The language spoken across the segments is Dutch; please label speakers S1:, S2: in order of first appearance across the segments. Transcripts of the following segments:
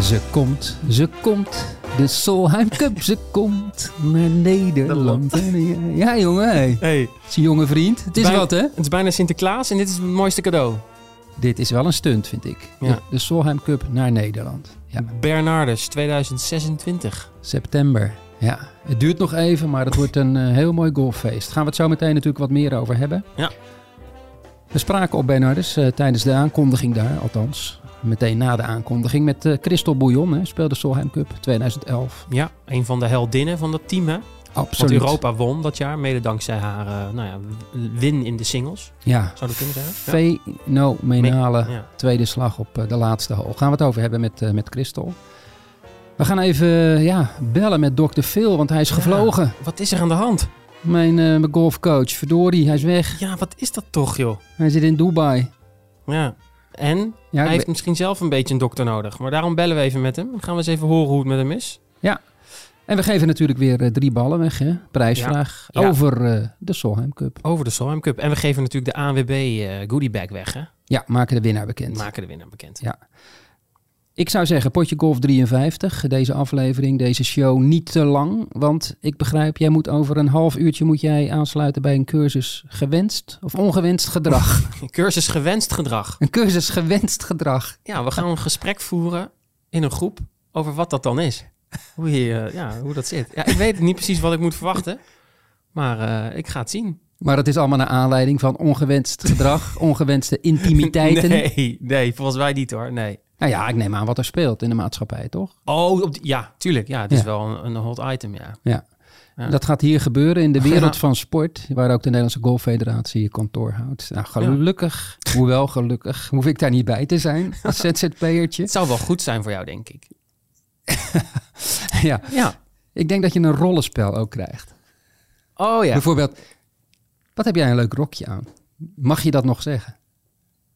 S1: Ze komt, ze komt. De Solheim Cup, ze komt naar Nederland. Ja, jongen. Hey.
S2: Hey,
S1: Het is een jonge vriend. Het is
S2: Bij-
S1: wat, hè?
S2: het is bijna Sinterklaas en dit is het mooiste cadeau.
S1: Dit is wel een stunt, vind ik.
S2: Ja.
S1: De, de Solheim Cup naar Nederland. Ja,
S2: Bernardus 2026.
S1: september. Ja, het duurt nog even, maar het wordt een eh, heel mooi golffeest. Gaan we het zo meteen natuurlijk wat meer over hebben.
S2: Ja.
S1: We spraken op Bernardus eh, tijdens de aankondiging daar, althans. Meteen na de aankondiging met eh Christel Bouillon, hè, speelde Solheim Cup 2011.
S2: Ja, een van de heldinnen van dat team, hè? Want
S1: Absoluut.
S2: Europa won dat jaar, mede dankzij haar eh, nou ja, win in de singles,
S1: Ja,
S2: zou dat kunnen zeggen.
S1: fenomenale
S2: Ja. Ja.
S1: tweede slag op eh, de laatste hol. Gaan we het over hebben met, eh, met Christel. We gaan even eh, ja, bellen met dokter Phil, want hij is
S2: Ja.
S1: gevlogen.
S2: Wat is er aan de hand?
S1: Mijn, eh, mijn golfcoach, verdorie, hij is weg.
S2: Ja, wat is dat toch, joh?
S1: Hij zit in Dubai.
S2: Ja. En
S1: Ja, ik
S2: hij heeft
S1: ben-
S2: misschien zelf een beetje een dokter nodig. Maar daarom bellen we even met hem. Dan gaan we eens even horen hoe het met hem is.
S1: En we geven natuurlijk weer eh, drie ballen weg, hè? prijsvraag,
S2: Ja. Ja.
S1: over eh, de Solheim Cup.
S2: Over de Solheim Cup. En we geven natuurlijk de ANWB eh goodiebag weg, hè?
S1: Ja, maken de winnaar bekend.
S2: Maken de winnaar bekend.
S1: Ik zou zeggen, potje golf 53, deze aflevering, deze show niet te lang. Want ik begrijp, jij moet over een half uurtje moet jij aansluiten bij een cursus gewenst of ongewenst gedrag.
S2: Een cursus gewenst gedrag.
S1: een cursus gewenst gedrag.
S2: Ja, we gaan een gesprek voeren in een groep over wat dat dan is. Hoe, je, eh, ja, hoe dat zit. Ja, ik weet niet precies wat ik moet verwachten. Maar eh, ik ga het zien.
S1: Maar dat is allemaal naar aanleiding van ongewenst gedrag, ongewenste intimiteiten.
S2: Nee, nee, volgens mij niet hoor. Nee.
S1: Nou ja, ik neem aan wat er speelt in de maatschappij, toch?
S2: Oh, op die- ja, tuurlijk. Ja, het is
S1: Ja.
S2: wel een, een hot item, ja.
S1: Ja.
S2: Ja.
S1: Dat gaat hier gebeuren in de wereld van sport, waar ook de Nederlandse Golffederatie je kantoor houdt. Nou, gelukkig, hoewel gelukkig, hoef ik daar niet bij te zijn als ZZP'ertje.
S2: Het zou wel goed zijn voor jou, denk ik.
S1: Ja,
S2: Ja.
S1: ik denk dat je een rollenspel ook krijgt.
S2: Oh ja.
S1: Bijvoorbeeld, wat heb jij een leuk rokje aan? Mag je dat nog zeggen?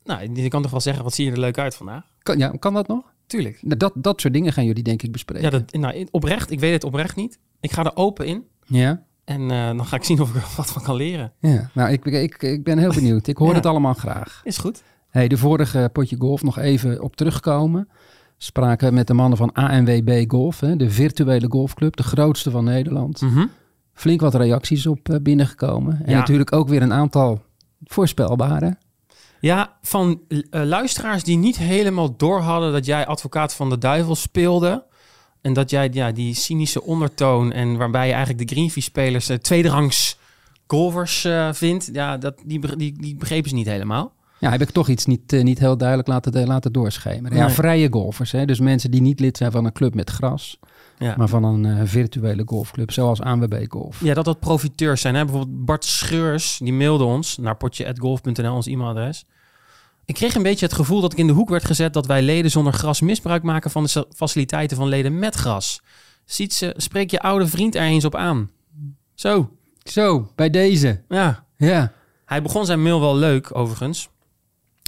S2: Nou, je kan toch wel zeggen, wat zie je er leuk uit vandaag?
S1: Kan, ja, kan dat nog?
S2: Tuurlijk.
S1: Nou, Dat, dat soort dingen gaan jullie denk ik bespreken.
S2: Ja, dat, nou, in- oprecht. Ik weet het oprecht niet. Ik ga er open in.
S1: ja?
S2: En eh, dan ga ik zien of ik er wat van kan leren.
S1: Ja. nou ik, ik, ik ben heel benieuwd. Ik hoor
S2: Ja.
S1: het allemaal graag.
S2: Is goed.
S1: Hey, de vorige potje golf nog even op terugkomen. Spraken we met de mannen van ANWB Golf, hè, de virtuele golfclub, de grootste van Nederland.
S2: Mhm.
S1: Flink wat reacties op eh, binnengekomen. En
S2: Hm. Ja.
S1: natuurlijk ook weer een aantal voorspelbare.
S2: Ja, van eh, luisteraars die niet helemaal door hadden dat jij advocaat van de duivel speelde. En dat jij ja, die cynische ondertoon en waarbij je eigenlijk de Greenfee-spelers eh, tweederangs golfers eh, vindt. Ja, dat, die, be- die, die begrepen ze niet helemaal.
S1: Ja, heb ik toch iets niet, eh, niet heel duidelijk laten, eh, laten doorschemeren. Ja,
S2: Nee.
S1: vrije golfers, hè? dus mensen die niet lid zijn van een club met gras,
S2: Ja.
S1: maar van een eh, virtuele golfclub, zoals ANWB Golf.
S2: Ja, dat dat profiteurs zijn. Hè? Bijvoorbeeld Bart Scheurs, die mailde ons naar potje.golf.nl, ons e-mailadres. Ik kreeg een beetje het gevoel dat ik in de hoek werd gezet dat wij leden zonder gras misbruik maken van de sa- faciliteiten van leden met gras. Ziet ze, spreek je oude vriend er eens op aan. Zo,
S1: Zo, bij deze.
S2: ja.
S1: Ja,
S2: Hij begon zijn mail wel leuk, overigens.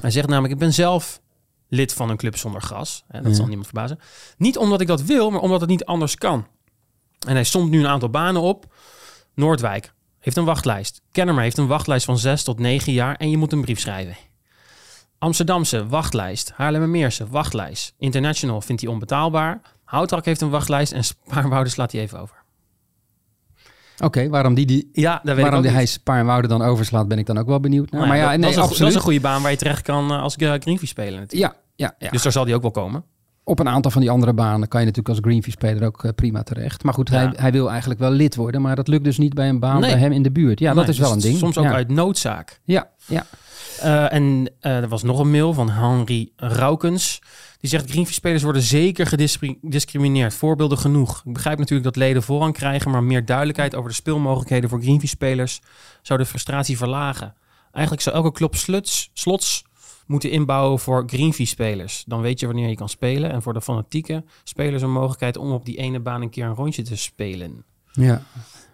S2: Hij zegt namelijk, ik ben zelf lid van een club zonder gras. Hè, dat
S1: Ja.
S2: zal niemand verbazen. Niet omdat ik dat wil, maar omdat het niet anders kan. En hij somt nu een aantal banen op. Noordwijk heeft een wachtlijst. Kennemer heeft een wachtlijst van 6 tot 9 jaar en je moet een brief schrijven. Amsterdamse wachtlijst. Haarlemmermeerse wachtlijst. International vindt hij onbetaalbaar. Houtrak heeft een wachtlijst en Spaarwouden slaat hij even over.
S1: oké, waarom die, die
S2: Ja, daar weet
S1: Waarom
S2: ik
S1: die
S2: ook
S1: hij
S2: niet.
S1: Spaar en Wouden dan overslaat, ben ik dan ook wel benieuwd naar.
S2: Nou
S1: maar ja, nee,
S2: dat, dat, is een, go- dat
S1: absoluut.
S2: is een goede baan waar je terecht kan eh, als eh, Greenfee speler natuurlijk.
S1: ja, ja, ja.
S2: Dus daar zal die ook wel komen.
S1: op een aantal van die andere banen kan je natuurlijk als Greenfee-speler ook eh, prima terecht. Maar goed, hij,
S2: Ja.
S1: hij wil eigenlijk wel lid worden, maar dat lukt dus niet bij een baan
S2: Nee.
S1: bij hem in de buurt. Ja, dat
S2: Nee,
S1: is wel
S2: dus
S1: een
S2: het
S1: ding.
S2: Soms ook
S1: ja.
S2: uit noodzaak.
S1: Ja, ja.
S2: Eh, en eh, er was nog een mail van Henry Raukens. Die zegt, Greenfee-spelers worden zeker gediscrimineerd. Voorbeelden genoeg. Ik begrijp natuurlijk dat leden voorrang krijgen... maar meer duidelijkheid over de speelmogelijkheden voor Greenfee-spelers... zou de frustratie verlagen. Eigenlijk zou elke club sluts, slots moeten inbouwen voor Greenfee-spelers. Dan weet je wanneer je kan spelen. En voor de fanatieke spelers een mogelijkheid... om op die ene baan een keer een rondje te spelen.
S1: Ja.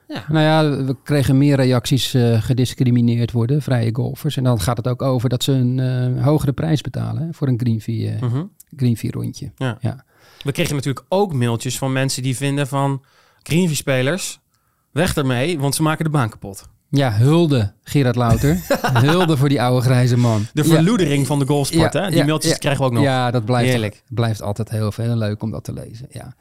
S2: Ja.
S1: Nou ja, we kregen meer reacties eh, gediscrimineerd worden, vrije golfers. En dan gaat het ook over dat ze een eh, hogere prijs betalen hè, voor een Greenfee, eh
S2: Mhm.
S1: Greenfee rondje.
S2: Ja.
S1: ja.
S2: We kregen natuurlijk ook mailtjes van mensen die vinden van... Greenfee-spelers, weg ermee, want ze maken de baan kapot.
S1: Ja, hulde Gerard Louter. hulde voor die oude grijze man.
S2: De
S1: ja,
S2: verloedering van de goalsport,
S1: Ja,
S2: hè? Die
S1: ja,
S2: mailtjes
S1: ja.
S2: krijgen we ook nog.
S1: ja, dat blijft,
S2: Heerlijk.
S1: blijft altijd heel veel leuk om dat te lezen. Ja.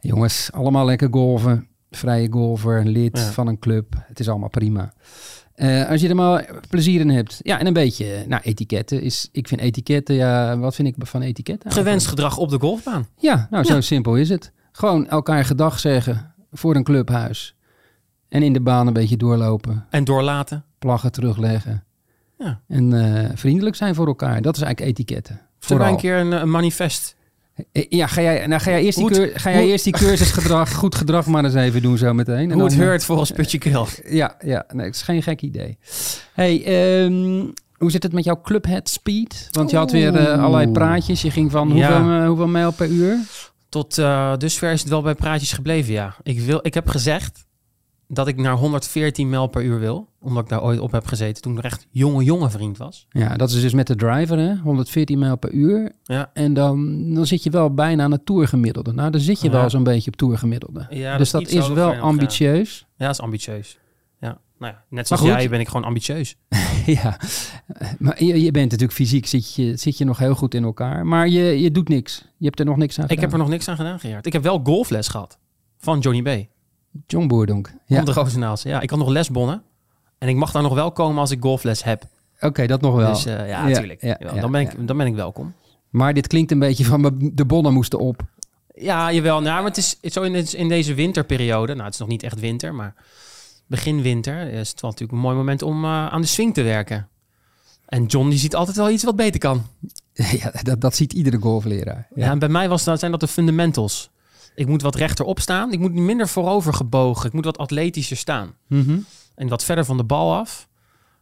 S1: Jongens, allemaal lekker golven. Vrije golfer, lid
S2: Ja.
S1: van een club. Het is allemaal prima. Eh, als je er maar plezier in hebt. Ja, en een beetje. eh, Nou, etiketten is. Ik vind etiketten. Ja, wat vind ik van etiketten? eigenlijk?
S2: Gewenst gedrag op de golfbaan.
S1: Ja, nou zo
S2: Ja.
S1: simpel is het. Gewoon elkaar gedag zeggen voor een clubhuis. En in de baan een beetje doorlopen,
S2: En doorlaten.
S1: plaggen terugleggen.
S2: Ja.
S1: En eh, vriendelijk zijn voor elkaar. Dat is eigenlijk etiketten.
S2: Voor
S1: Vooral.
S2: een keer een, eh, een manifest.
S1: Eh, Ja, ga jij, nou, ga jij eerst die,
S2: Goed.
S1: cur- ga jij
S2: Goed.
S1: eerst die cursusgedrag, goed gedrag maar eens even doen zo meteen. En
S2: Hoe het
S1: dan, eh,
S2: heurt volgens Putje Kelf.
S1: Ja, ja nee, het is geen gek idee. hey, ehm, hoe zit het met jouw clubhead speed? Want je had weer eh,
S2: Oeh.
S1: allerlei praatjes. Je ging van
S2: Ja.
S1: hoeveel, eh, hoeveel mijl per uur?
S2: Tot eh, dusver is het wel bij praatjes gebleven, ja. Ik, wil, ik heb gezegd dat ik naar 114 mijl per uur wil. Omdat ik daar ooit op heb gezeten toen ik nog echt jonge, jonge vriend was.
S1: Ja, dat is dus met de driver, hè? 114 mijl per uur.
S2: Ja.
S1: En dan, dan zit je wel bijna aan het tourgemiddelde. Nou, dan zit je
S2: Ja.
S1: wel zo'n beetje op tourgemiddelde.
S2: Ja,
S1: dus dat
S2: iets
S1: is
S2: hoger,
S1: wel
S2: ja, ja.
S1: ambitieus.
S2: Ja, dat is ambitieus. Ja. Nou ja, net zoals
S1: goed.
S2: jij ben ik gewoon ambitieus.
S1: ja, maar je, je bent natuurlijk fysiek, zit je, zit je nog heel goed in elkaar. Maar je, je doet niks. Je hebt er nog niks aan
S2: Ik
S1: gedaan.
S2: heb er nog niks aan gedaan, Gerard. Ik heb wel golfles gehad van Johnny B.
S1: John Boerdonk.
S2: Ja.
S1: Ja,
S2: Om de Roosendaals. Ja, ik had nog lesbonnen. En ik mag daar nog wel komen als ik golfles heb.
S1: oké, dat nog wel.
S2: Dus eh, ja,
S1: Ja,
S2: natuurlijk.
S1: ja,
S2: Jawel,
S1: ja,
S2: dan, ben
S1: ja.
S2: ik, dan ben ik welkom.
S1: Maar dit klinkt een beetje van "Mijn- de bonnen moesten op.
S2: Ja, jawel. Nou, maar het is zo in, het- in deze winterperiode. Nou, het is nog niet echt winter, maar begin winter eh, is het wel natuurlijk een mooi moment om eh, aan de swing te werken. En John die ziet altijd wel iets wat beter kan.
S1: ja, dat, dat ziet iedere golfleraar.
S2: Ja. en bij mij was dat, zijn dat de fundamentals. Ik moet wat rechterop staan. Ik moet minder voorover gebogen. Ik moet wat atletischer staan.
S1: Mhm.
S2: En wat verder van de bal af.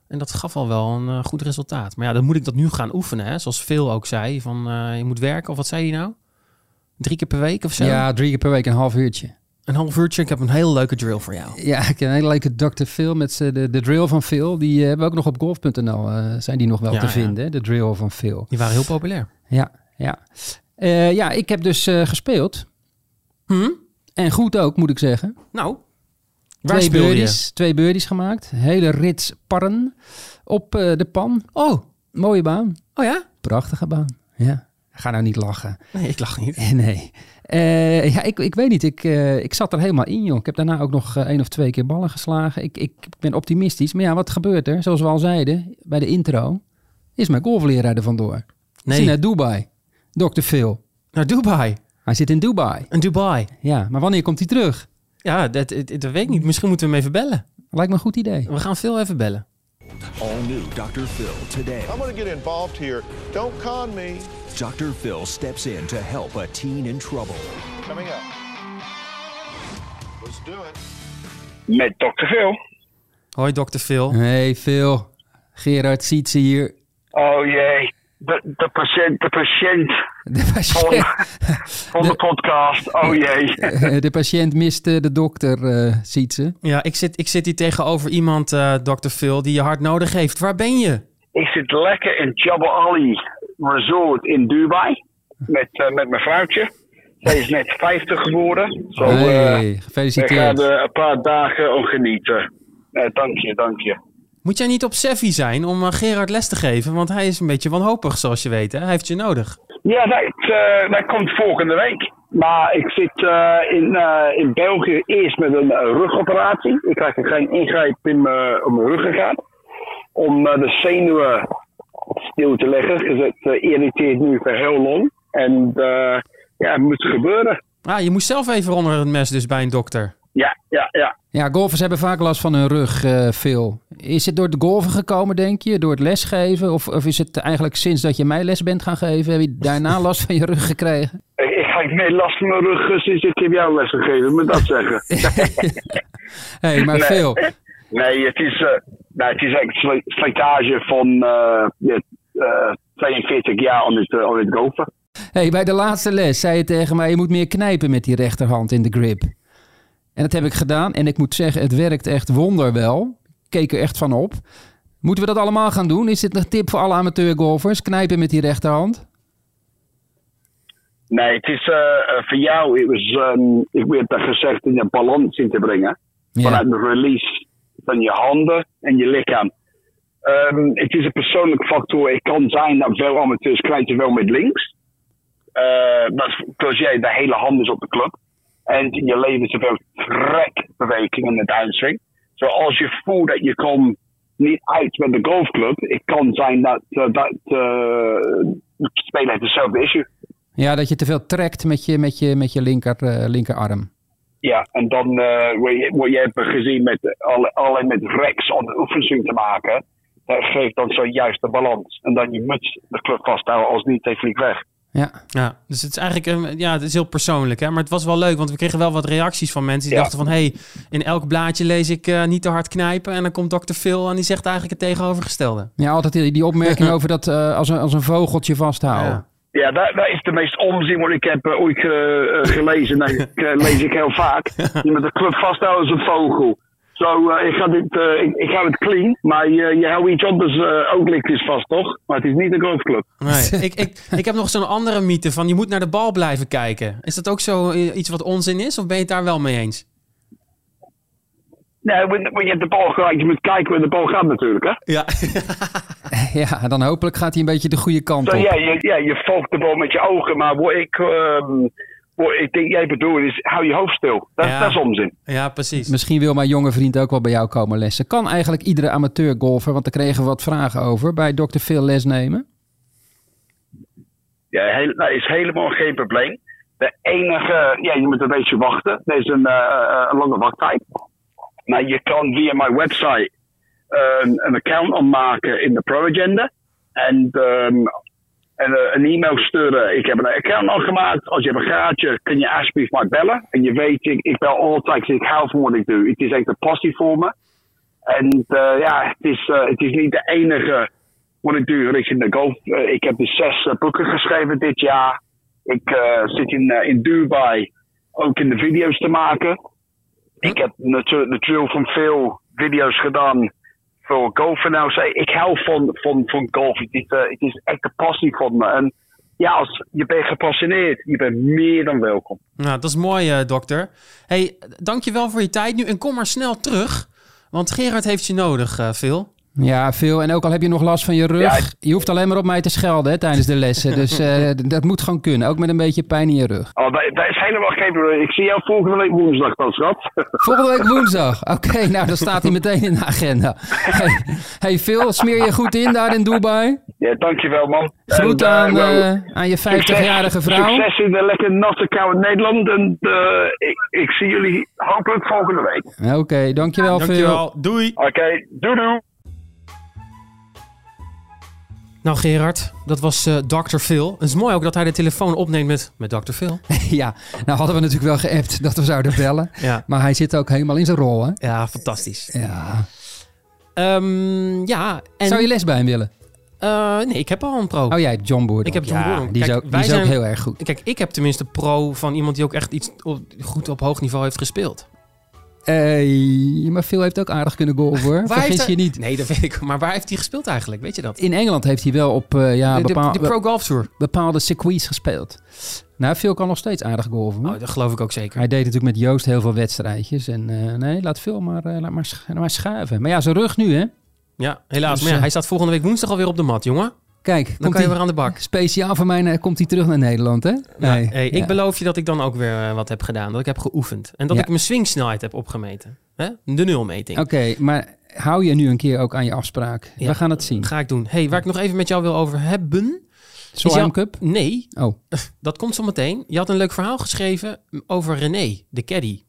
S2: En dat gaf al wel een eh, goed resultaat. Maar ja, dan moet ik dat nu gaan oefenen. Hè? Zoals Phil ook zei, van eh, je moet werken. Of wat zei hij nou? Drie keer per week of zo?
S1: ja, drie keer per week een half uurtje.
S2: Een half uurtje. Ik heb een hele leuke drill voor jou.
S1: Ja, ik heb een hele leuke Dr. Phil met z'n- de, de drill van Phil. Die eh, hebben we ook nog op golf.nl. eh, zijn die nog wel
S2: Ja,
S1: te
S2: ja.
S1: vinden, hè? de drill van Phil.
S2: Die waren heel populair.
S1: Ja, ja. Eh, ja, ik heb dus eh, gespeeld.
S2: Hm?
S1: En goed ook, moet ik zeggen.
S2: Nou, waar
S1: twee,
S2: speelde je?
S1: birdies, twee birdies gemaakt. Hele rits parren op eh, de pan.
S2: Oh,
S1: Mooie baan.
S2: oh ja?
S1: Prachtige baan. Ja. Ga nou niet lachen.
S2: Nee, ik lach niet.
S1: Nee. Eh, ja, ik, ik weet niet. Ik, eh, ik zat er helemaal in, joh. Ik heb daarna ook nog eh, één of twee keer ballen geslagen. Ik, ik ben optimistisch. Maar ja, wat gebeurt er? Zoals we al zeiden bij de intro, is mijn golfleraar er vandoor. Nee.
S2: Nee,
S1: Is naar Dubai. Dr. Phil.
S2: naar Dubai.
S1: Hij zit in Dubai.
S2: En Dubai.
S1: Ja, maar wanneer komt hij terug?
S2: Ja, dat, dat, dat weet ik niet. Misschien moeten we hem even bellen.
S1: Lijkt me een goed idee.
S2: We gaan Phil even bellen.
S3: All new Dr. Phil today.
S4: I'm going to get involved here. Don't con me.
S3: Dr. Phil steps in to help a teen in trouble.
S4: Coming up. Let's do it.
S5: Met Dr. Phil.
S2: Hoi, dokter Phil.
S1: Hey Phil. Gerard ziet ze hier.
S5: Oh jee, de, de patiënt, de patiënt
S1: De
S5: van,
S1: patiënt,
S5: van de podcast. Oh jee.
S1: eh, de patiënt mist eh, de dokter, eh, ziet ze.
S2: Ja, ik zit, ik zit hier tegenover iemand, eh dokter Phil, die je hard nodig heeft. Waar ben je?
S5: Ik zit lekker in Jabba Ali Resort in Dubai. Met, eh, met mijn vrouwtje. Zij is net 50 geworden. Zo, eh,
S1: Hey,
S5: we gaan
S1: gefeliciteerd.
S5: er een paar dagen om genieten. Eh, dank je, dank je.
S2: Moet jij niet op Seffi zijn om eh, Gerard les te geven? Want hij is een beetje wanhopig, zoals je weet. Hè? Hij heeft je nodig.
S5: Ja, dat, eh, dat komt volgende week. Maar ik zit eh, in, eh, in België eerst met een eh, rugoperatie. Ik krijg er geen ingreep in mijn op mijn ruggengraat. Om eh, de zenuwen stil te leggen. Dus het eh, irriteert nu voor heel lang. En eh, ja, het moet gebeuren.
S2: Ah, je moest zelf even onder het mes dus bij een dokter.
S5: Ja, ja, ja.
S1: Ja, golfers hebben vaak last van hun rug, eh, Phil. Is het door de golven gekomen, denk je? Door het lesgeven? Of, of is het eigenlijk sinds dat je mij les bent gaan geven, heb je daarna last van je rug gekregen?
S5: Ik, ik ga meer last van mijn rug eh, sinds ik heb jou les gegeven, moet ik dat zeggen.
S1: Hé, hey, maar Phil.
S5: Nee, het is, eh nou, het is eigenlijk sli- slijtage van eh, ja, eh, 42 jaar aan het, eh, aan het golfen.
S1: Hey, bij de laatste les zei je tegen mij, je moet meer knijpen met die rechterhand in de grip. En dat heb ik gedaan. En ik moet zeggen, het werkt echt wonderwel. Ik keek er echt van op. Moeten we dat allemaal gaan doen? Is dit een tip voor alle amateurgolfers? Knijpen met die rechterhand?
S5: Nee, het is eh, eh, voor jou, het was, ehm, ik werd dat gezegd, in een balans in te brengen.
S1: Ja.
S5: Vanuit de release dan je handen en je lichaam. Ehm, het is een persoonlijk factor. Het kan zijn dat veel amateurs knijten wel met links. Eh maar Clogier, de hele hand is op de club. En je levert zoveel trekbewegingen in het uitswing. Zoals je voelt dat je komt niet uit met de golfclub. Het kan zijn dat, eh, dat eh, de speler heeft hetzelfde issue.
S1: Ja, dat je te veel trekt met je, met je, met je linker, eh, linkerarm.
S5: Ja, en dan eh word, je, word je even gezien met eh, alle, alle met rechts aan de oefenswing te maken. Dat geeft dan zojuist de balans. En dan je muts de club vasthouden, als niet, hij vliegt weg.
S1: Ja,
S2: Ja, dus het is eigenlijk een, ja, het is heel persoonlijk. Hè? Maar het was wel leuk, want we kregen wel wat reacties van mensen die
S5: Ja.
S2: dachten van... hé, hey, in elk blaadje lees ik eh, niet te hard knijpen. En dan komt dokter Phil en die zegt eigenlijk het tegenovergestelde.
S1: ja altijd die, die opmerking over dat eh, als, een, als een vogeltje vasthouden.
S2: Ja.
S5: Ja, dat, dat is de meest onzin wat ik heb eh, ooit ge- eh, gelezen. Dat eh, lees ik heel vaak. Je moet de club vasthouden als een vogel. Zo, eh, ik, ga dit, eh, ik, ik ga het clean, maar je, je houdt iets anders eh, ook lichtjes vast, toch? Maar het is niet een golfclub.
S2: Nee. ik, ik, ik heb nog zo'n andere mythe van je moet naar de bal blijven kijken. Is dat ook zo eh, iets wat onzin is? Of ben je het daar wel mee eens?
S5: Nee, want- want je hebt de bal gelijk. Je moet kijken waar de bal gaat natuurlijk, hè?
S2: Ja.
S1: Ja, dan hopelijk gaat hij een beetje de goede kant
S5: Zo, ja,
S1: op.
S5: je, ja, je volgt de bal met je ogen, maar wat ik, ehm, wat ik denk jij bedoelt is, hou je hoofd stil. Dat,
S2: Ja.
S5: dat is onzin.
S2: ja, precies.
S1: Misschien wil mijn jonge vriend ook wel bij jou komen lessen. Kan eigenlijk iedere amateurgolfer, want er kregen we wat vragen over, bij dokter Phil les nemen?
S5: Ja, heel- dat is helemaal geen probleem. De enige, ja, je moet een beetje wachten. Er is een, eh, een lange wachttijd. Maar je kan via mijn website ehm, een account aanmaken in de ProAgenda. En, ehm, en eh, een e-mail sturen. Ik heb een account al gemaakt. Als je hebt een gaatje, kun je alsjeblieft mij bellen. En je weet, ik, ik bel altijd. Ik hou van wat ik doe. Het is echt een passie voor me. En eh, ja, het is, eh, het is niet de enige wat ik doe richting de golf. Eh, ik heb dus zes eh, boeken geschreven dit jaar. Ik eh, zit in, eh, in Dubai ook in de video's te maken. Ik heb natu- natuurlijk van veel video's gedaan voor golfen. Nou, zei, ik hou van, van, van golf. Het is, eh, het is echt een passie van me. En ja, als je bent gepassioneerd, je bent meer dan welkom.
S2: Nou, dat is mooi, eh, dokter. hey, dankjewel voor je tijd nu. En kom maar snel terug. Want Gerard heeft je nodig, eh, Phil.
S1: Ja, veel. En ook al heb je nog last van je rug,
S5: Ja,
S1: je hoeft alleen maar op mij te schelden hè, tijdens de lessen. Dus eh, d- dat moet gewoon kunnen, ook met een beetje pijn in je rug.
S5: Oh, dat, dat is helemaal geen probleem. Ik zie jou volgende week woensdag dan, schat.
S1: Volgende week woensdag. Oké, nou dan staat hij meteen in de agenda. Hey, hey Phil, smeer je goed in daar in Dubai.
S5: Ja, dankjewel man.
S1: Groet
S5: En, eh,
S1: aan,
S5: wel,
S1: eh, aan je
S5: succes-
S1: 50-jarige vrouw.
S5: Succes in de lekker natte koude Nederland. En eh, ik, ik zie jullie hopelijk volgende week. Oké,
S1: Oké, dankjewel Phil.
S2: Dankjewel. Doei.
S5: doei doei.
S2: Nou, Gerard, dat was eh Dr. Phil. Het is mooi ook dat hij de telefoon opneemt met, met Dr. Phil.
S1: Ja, nou hadden we natuurlijk wel geappt dat we zouden bellen.
S2: Ja.
S1: Maar hij zit ook helemaal in zijn rol, hè?
S2: Ja, fantastisch.
S1: Ja.
S2: Ehm, ja, en...
S1: Zou je les bij hem willen?
S2: eh, nee, ik heb al een pro.
S1: Oh, jij hebt John Boerdonk.
S2: Ik heb John
S1: ja,
S2: Boerdonk.
S1: Die is
S2: Kijk,
S1: ook, die
S2: wij
S1: is ook
S2: zijn-
S1: heel erg goed.
S2: Kijk, ik heb tenminste pro van iemand die ook echt iets op- goed op hoog niveau heeft gespeeld.
S1: Eh, maar Phil heeft ook aardig kunnen golven, hoor.
S2: Waar heeft
S1: Vergis
S2: hij-
S1: je niet.
S2: Nee, dat weet ik. Maar waar heeft hij gespeeld eigenlijk? Weet je dat?
S1: In Engeland heeft hij wel op eh, ja,
S2: de, de-
S1: bepaal-
S2: de Pro Golf Tour.
S1: bepaalde circuits gespeeld. Nou, Phil kan nog steeds aardig golven. hoor.
S2: Oh, dat geloof ik ook zeker.
S1: Hij deed natuurlijk met Joost heel veel wedstrijdjes. En eh, nee, laat Phil maar, eh, laat maar, sch- laat maar schuiven. Maar ja, zijn rug nu, hè?
S2: Ja, helaas.
S1: Dus,
S2: maar ja,
S1: eh,
S2: hij staat volgende week woensdag alweer op de mat, jongen.
S1: Kijk,
S2: Dan
S1: komt
S2: kan je
S1: hij,
S2: weer aan de bak.
S1: speciaal voor mij eh, komt hij terug naar Nederland, hè?
S2: Nee, hey,
S1: ja.
S2: Ik beloof je dat ik dan ook weer eh, wat heb gedaan. Dat ik heb geoefend. En dat
S1: Ja.
S2: ik mijn swingsnelheid heb opgemeten. Hè? De nulmeting.
S1: Oké, maar hou je nu een keer ook aan je afspraak.
S2: Ja.
S1: We gaan het zien.
S2: Ga ik doen. hey, waar ik nog even met jou wil over hebben.
S1: Solheim
S2: jou-
S1: Cup?
S2: Nee,
S1: Oh,
S2: dat komt zo meteen. Je had een leuk verhaal geschreven over René, de caddy.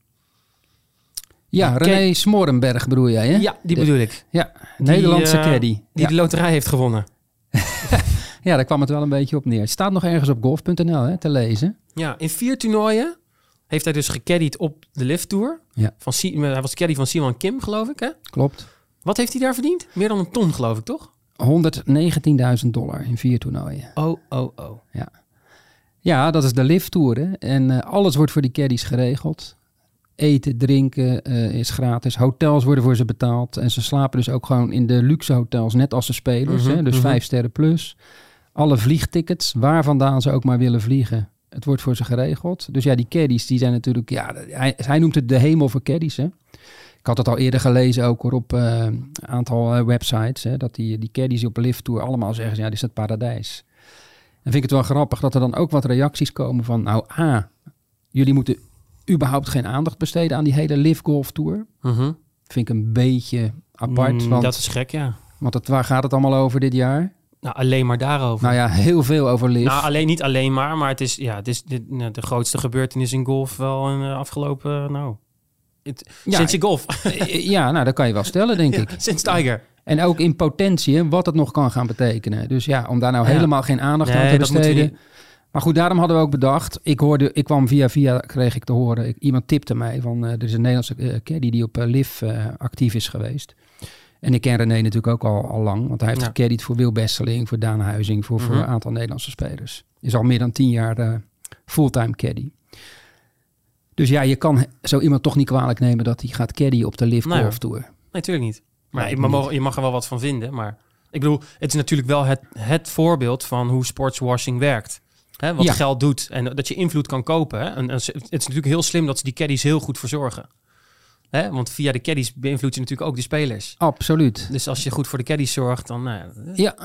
S1: ja,
S2: Oké.
S1: René Smorenberg bedoel jij, hè?
S2: Ja, die
S1: De-
S2: bedoel ik.
S1: Ja, Nederlandse
S2: eh,
S1: caddy.
S2: Die
S1: ja.
S2: de loterij heeft gewonnen.
S1: ja, daar kwam het wel een beetje op neer. Het staat nog ergens op golf.nl hè, te lezen.
S2: Ja, in vier toernooien heeft hij dus gecaddied op de lift tour.
S1: Ja.
S2: Van, Si- eh, hij was caddy van Simon Kim, geloof ik. Hè?
S1: Klopt.
S2: Wat heeft hij daar verdiend? Meer dan een ton, geloof ik, toch?
S1: 119.000 dollar in vier toernooien.
S2: Oh, oh, oh.
S1: Ja, dat is de lift tour. Hè? En eh, alles wordt voor die caddies geregeld. Eten, drinken eh, is gratis. Hotels worden voor ze betaald. En ze slapen dus ook gewoon in de luxe hotels, net als de spelers.
S2: Mhm,
S1: hè? Dus
S2: mhm.
S1: vijf sterren plus. Alle vliegtickets, waar vandaan ze ook maar willen vliegen. Het wordt voor ze geregeld. Dus ja, die caddies, die zijn natuurlijk... Ja, hij, hij noemt het de hemel voor caddies, hè. Ik had het al eerder gelezen ook hoor, op eh, een aantal eh, websites. Hè, dat die, die caddies op Live Tour allemaal zeggen, ja, dit is het paradijs. En vind ik het wel grappig dat er dan ook wat reacties komen van... Nou, A, jullie moeten überhaupt geen aandacht besteden aan die hele Live Golf Tour.
S2: Mhm.
S1: Vind ik een beetje apart,
S2: Mm,
S1: want,
S2: Dat is gek, ja.
S1: want het, waar gaat het allemaal over dit jaar?
S2: Nou, alleen maar daarover.
S1: Nou ja, heel veel over Live.
S2: Nou, alleen, niet alleen maar, maar het is, ja, het is dit, nou, de grootste gebeurtenis in golf wel in de afgelopen, eh, nou, het,
S1: Ja,
S2: sinds de golf.
S1: ja, nou, dat kan je wel stellen, denk ik.
S2: sinds Tiger.
S1: En ook in potentie, hè, wat het nog kan gaan betekenen. Dus ja, om daar nou
S2: Ja.
S1: helemaal geen aandacht aan
S2: Nee,
S1: te
S2: dat moeten we
S1: besteden. Maar goed, daarom hadden we ook bedacht. Ik hoorde, ik kwam via via, kreeg ik te horen. ik- iemand tipte mij van, eh, er is een Nederlandse eh, caddy die op eh, LIV eh, actief is geweest. En ik ken René natuurlijk ook al, al lang. Want hij heeft
S2: Ja.
S1: gecaddied voor Wil Besseling, voor Daan Huizing, voor, voor
S2: Mhm.
S1: een aantal Nederlandse spelers. Is al meer dan tien jaar eh, fulltime caddy. Dus ja, je kan zo iemand toch niet kwalijk nemen dat hij gaat caddy op de LIV
S2: Nee,
S1: Golf Tour.
S2: Nee, natuurlijk niet. Maar
S1: Nee,
S2: je, mag,
S1: niet.
S2: je mag er wel wat van vinden. Maar ik bedoel, het is natuurlijk wel het, het voorbeeld van hoe sportswashing werkt. Hè, wat
S1: Ja.
S2: geld doet en dat je invloed kan kopen. Hè? En, en ze- het is natuurlijk heel slim dat ze die caddies heel goed verzorgen. Hè? Want via de caddies beïnvloed je natuurlijk ook de spelers.
S1: Absoluut.
S2: Dus als je goed voor de caddies zorgt, dan... Nou, ja,
S1: Ja,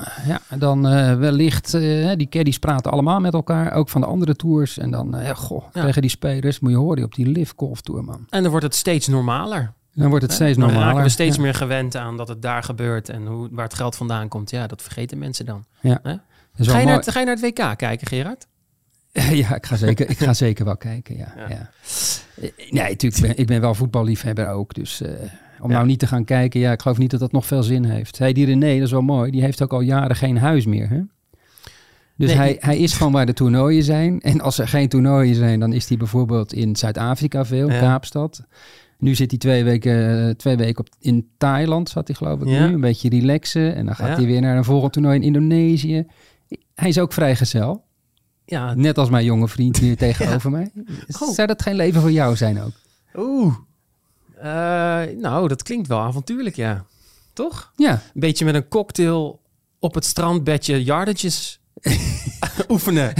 S1: ja dan eh, wellicht, eh, die caddies praten allemaal met elkaar, ook van de andere tours. En dan, eh, ja, goh,
S2: Ja.
S1: tegen die spelers moet je horen op die Live Golf Tour, man.
S2: en dan wordt het steeds normaler.
S1: Dan wordt het steeds
S2: Dan
S1: normaler.
S2: raken we steeds
S1: Ja.
S2: meer gewend aan dat het daar gebeurt en hoe, waar het geld vandaan komt. Ja, dat vergeten mensen dan.
S1: Dat is wel
S2: Ga je, naar,
S1: mooi.
S2: het- ga je naar het WK kijken, Gerard?
S1: Ja, ik ga zeker, ik ga zeker wel kijken, ja. ja. Eh, Nee, natuurlijk, ik ben, ik ben wel voetballiefhebber ook, dus... eh, om
S2: Ja.
S1: nou niet te gaan kijken, ja, ik geloof niet dat dat nog veel zin heeft. Hey, die René, dat is wel mooi, die heeft ook al jaren geen huis meer, hè? Dus
S2: Nee,
S1: hij,
S2: die-
S1: hij is gewoon waar de toernooien zijn. En als er geen toernooien zijn, dan is hij bijvoorbeeld in Zuid-Afrika veel,
S2: Ja.
S1: Kaapstad. Nu zit hij twee weken, eh, twee weken op, in Thailand, zat hij geloof ik
S2: Ja.
S1: nu. Een beetje relaxen. En dan gaat
S2: Ja.
S1: hij weer naar een volgend toernooi in Indonesië. Hij is ook vrijgezel.
S2: Ja,
S1: Net als mijn jonge vriend hier tegenover mij.
S2: Oh.
S1: Zou dat geen leven voor jou zijn ook?
S2: Oeh. Eh, nou, dat klinkt wel avontuurlijk, ja. Toch?
S1: Ja,
S2: Een beetje met een cocktail op het strandbedje yardages oefenen.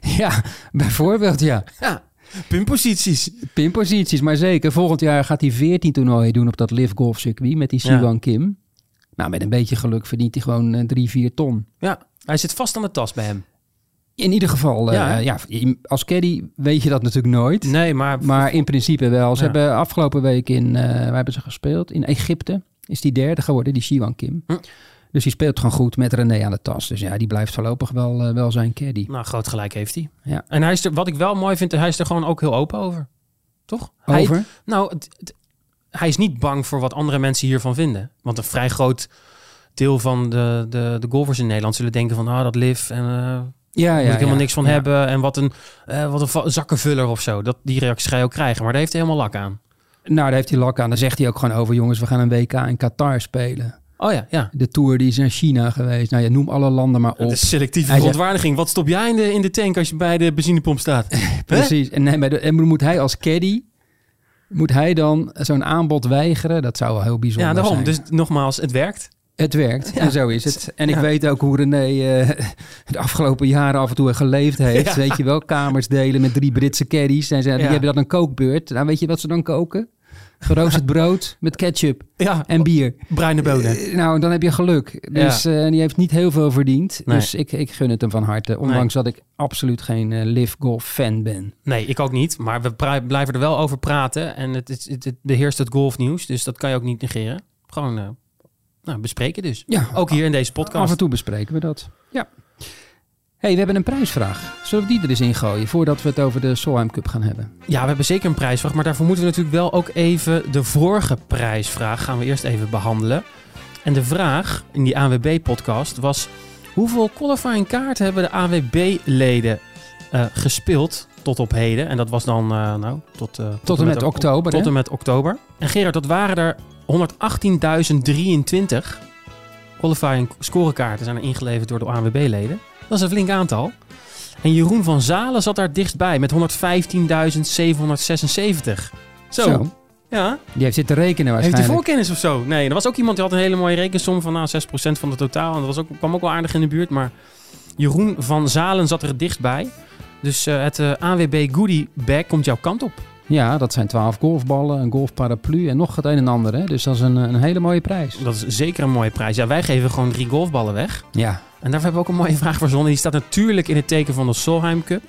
S1: ja bijvoorbeeld ja.
S2: Ja, pinposities.
S1: Pinposities, maar zeker. Volgend jaar gaat hij 14 toernooien doen op dat Live Golf Circuit met die
S2: Ja.
S1: Siwan Kim. Nou, met een beetje geluk verdient hij gewoon eh, drie, vier ton.
S2: Ja, hij zit vast aan de tas bij hem.
S1: In ieder geval, eh,
S2: Ja, hè?
S1: ja. als caddy weet je dat natuurlijk nooit.
S2: Nee, maar...
S1: Maar in principe wel. Ze
S2: Ja.
S1: hebben afgelopen week in, eh waar hebben ze gespeeld? In Egypte is die derde geworden, die Siwan Kim.
S2: Hm.
S1: Dus die speelt gewoon goed met René aan de tas. Dus ja, die blijft voorlopig wel, eh, wel zijn caddy.
S2: Nou, groot gelijk heeft hij.
S1: Ja.
S2: En hij is er, wat ik wel mooi vind, hij is er gewoon ook heel open over. Toch? Hij-
S1: Over?
S2: Nou, het- het- hij is niet bang voor wat andere mensen hiervan vinden. Want een vrij groot deel van de, de, de golfers in Nederland zullen denken van... Ah, dat liv en eh,
S1: ja,
S2: moet ik helemaal niks van
S1: Ja.
S2: hebben. En wat een, eh, wat een va- zakkenvuller of zo. Dat, die reacties ga je ook krijgen. Maar daar heeft hij helemaal lak aan.
S1: Nou, daar heeft hij lak aan. Dan zegt hij ook gewoon over, jongens, we gaan een WK in Qatar spelen.
S2: Oh ja, ja.
S1: De Tour die is naar China geweest. Nou ja, noem alle landen maar op.
S2: Het is selectieve
S1: Hij zei-
S2: verontwaardiging. Wat stop jij in de, in de tank als je bij de benzinepomp staat?
S1: Precies. En, nee, maar de- en moet hij als caddy, moet hij dan zo'n aanbod weigeren? Dat zou wel heel bijzonder
S2: ja, daarom.
S1: zijn.
S2: Dus nogmaals, het werkt.
S1: Het werkt, en zo is het. En ik weet ook hoe René eh, de afgelopen jaren af en toe geleefd heeft.
S2: Ja.
S1: Weet je wel, kamers delen met drie Britse caddies. En ze, die
S2: Ja.
S1: hebben dan een kookbeurt. Nou, weet je wat ze dan koken? Geroosterd brood met ketchup
S2: Ja,
S1: en bier.
S2: bruine bonen.
S1: Eh, Nou, dan heb je geluk. Dus eh, die heeft niet heel veel verdiend.
S2: Nee.
S1: Dus ik, ik gun het hem van harte. Ondanks dat ik absoluut geen eh live golf fan ben.
S2: Nee, ik ook niet. Maar we pra- blijven er wel over praten. En het, is- het, het beheerst het golfnieuws. Dus dat kan je ook niet negeren. Gewoon eh, nou, bespreken dus.
S1: Ja,
S2: Ook hier in deze
S1: Af en
S2: podcast.
S1: toe bespreken we dat. Ja. hey, we hebben een prijsvraag. Zullen we die er eens in gooien voordat we het over de Solheim Cup gaan hebben?
S2: Ja, we hebben zeker een prijsvraag. Maar daarvoor moeten we natuurlijk wel ook even de vorige prijsvraag gaan we eerst even behandelen. En de vraag in die AWB-podcast was... Hoeveel qualifying kaarten hebben de AWB-leden eh, gespeeld tot op heden? En dat was dan eh, nou, tot, eh,
S1: Tot en met
S2: ok-
S1: oktober.
S2: Tot
S1: hè?
S2: en met oktober. En Gerard, dat waren er 118.023 qualifying scorekaarten zijn er ingeleverd door de ANWB-leden. Dat is een flink aantal. En Jeroen van Zalen zat daar dichtbij met 115.776. Zo. Ja.
S1: Die heeft zitten rekenen
S2: Heeft hij
S1: waarschijnlijk.
S2: voorkennis of zo? Nee, er was ook iemand die had een hele mooie rekensom van nou, 6% van het totaal. En dat was ook, kwam ook wel aardig in de buurt. Maar Jeroen van Zalen zat er dichtbij. Dus eh, het eh, ANWB Goodie Bag komt jouw kant op.
S1: Ja, dat zijn 12 golfballen, een golfparaplu en nog het een en ander. Hè? Dus dat is een, een hele mooie prijs.
S2: Dat is zeker een mooie prijs. Ja, wij geven gewoon drie golfballen weg.
S1: Ja,
S2: En daarvoor hebben we ook een mooie vraag voor Zonne. Die staat natuurlijk in het teken van de Solheim Cup.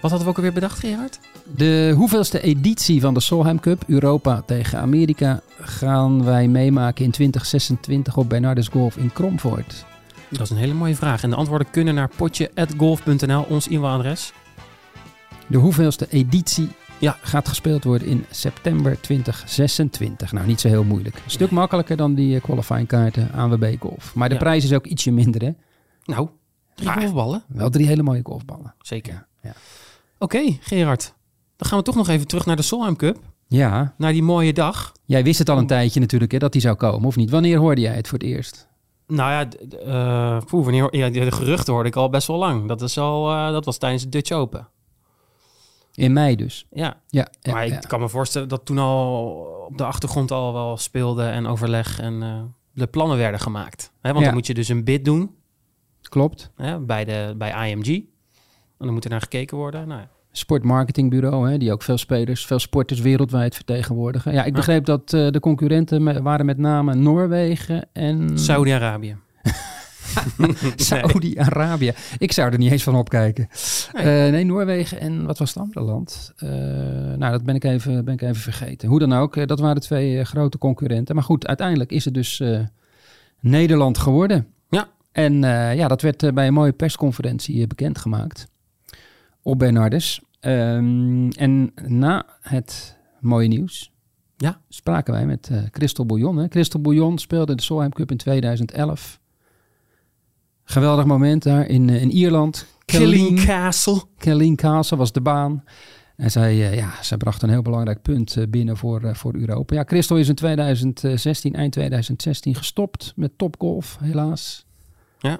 S2: Wat hadden we ook alweer bedacht, Gerard?
S1: De hoeveelste editie van de Solheim Cup, Europa tegen Amerika, gaan wij meemaken in 2026 op Bernardus Golf in Kromvoort.
S2: Dat is een hele mooie vraag. En de antwoorden kunnen naar potje.golf.nl, ons e-mailadres.
S1: De hoeveelste editie
S2: Ja.
S1: gaat gespeeld worden in september 2026. Nou, niet zo heel moeilijk. Een stuk makkelijker dan die eh, qualifying kaarten ANWB Golf. Maar de
S2: Ja.
S1: prijs is ook ietsje minder, hè?
S2: Nou, drie
S1: Maar-
S2: golfballen.
S1: Wel drie hele mooie golfballen.
S2: Zeker.
S1: Ja.
S2: Oké, Gerard. Dan gaan we toch nog even terug naar de Solheim Cup.
S1: Ja,
S2: Naar die mooie dag.
S1: jij wist het al een tijdje natuurlijk, hè, dat die zou komen, of niet? Wanneer hoorde jij het voor het eerst?
S2: Nou ja, d- d- eh, poeh, wanneer, ja, de geruchten hoorde ik al best wel lang. Dat, is al, eh, dat was tijdens de Dutch Open.
S1: In mei dus.
S2: Ja,
S1: Ja, ja,
S2: maar
S1: ja.
S2: ik kan me voorstellen dat toen al op de achtergrond al wel speelde en overleg en eh, de plannen werden gemaakt. Hè, want
S1: Ja.
S2: dan moet je dus een bid doen
S1: klopt.
S2: hè, bij, de, bij IMG. En dan moet er naar gekeken worden. Nou, ja.
S1: sportmarketingbureau, hè, die ook veel spelers, veel sporters wereldwijd vertegenwoordigen. Ja, ik begreep dat eh, de concurrenten me- waren met name Noorwegen en
S2: Saudi-Arabië.
S1: Saudi-Arabië. Ik zou er niet eens van opkijken. Eh, Nee, Noorwegen en wat was het andere land? Eh, nou, dat ben ik, even, ben ik even vergeten. Hoe dan ook, eh, dat waren twee eh, grote concurrenten. Maar goed, uiteindelijk is het dus eh, Nederland geworden.
S2: Ja.
S1: En eh, ja, dat werd eh, bij een mooie persconferentie eh, bekendgemaakt. Op Bernardes. Ehm, en na het mooie nieuws
S2: Ja.
S1: spraken wij met eh Christel Bouillon. Hè. Christel Bouillon speelde de Solheim Cup in 2011. Geweldig moment daar in, eh, in Ierland.
S2: Killing
S1: Killeen-
S2: Castle.
S1: Kelleen Kaase was de baan. En zij, eh, ja, zij bracht een heel belangrijk punt eh, binnen voor, eh, voor Europa. Ja, Christel is in 2016, eind 2016 gestopt met topgolf, helaas.
S2: Ja.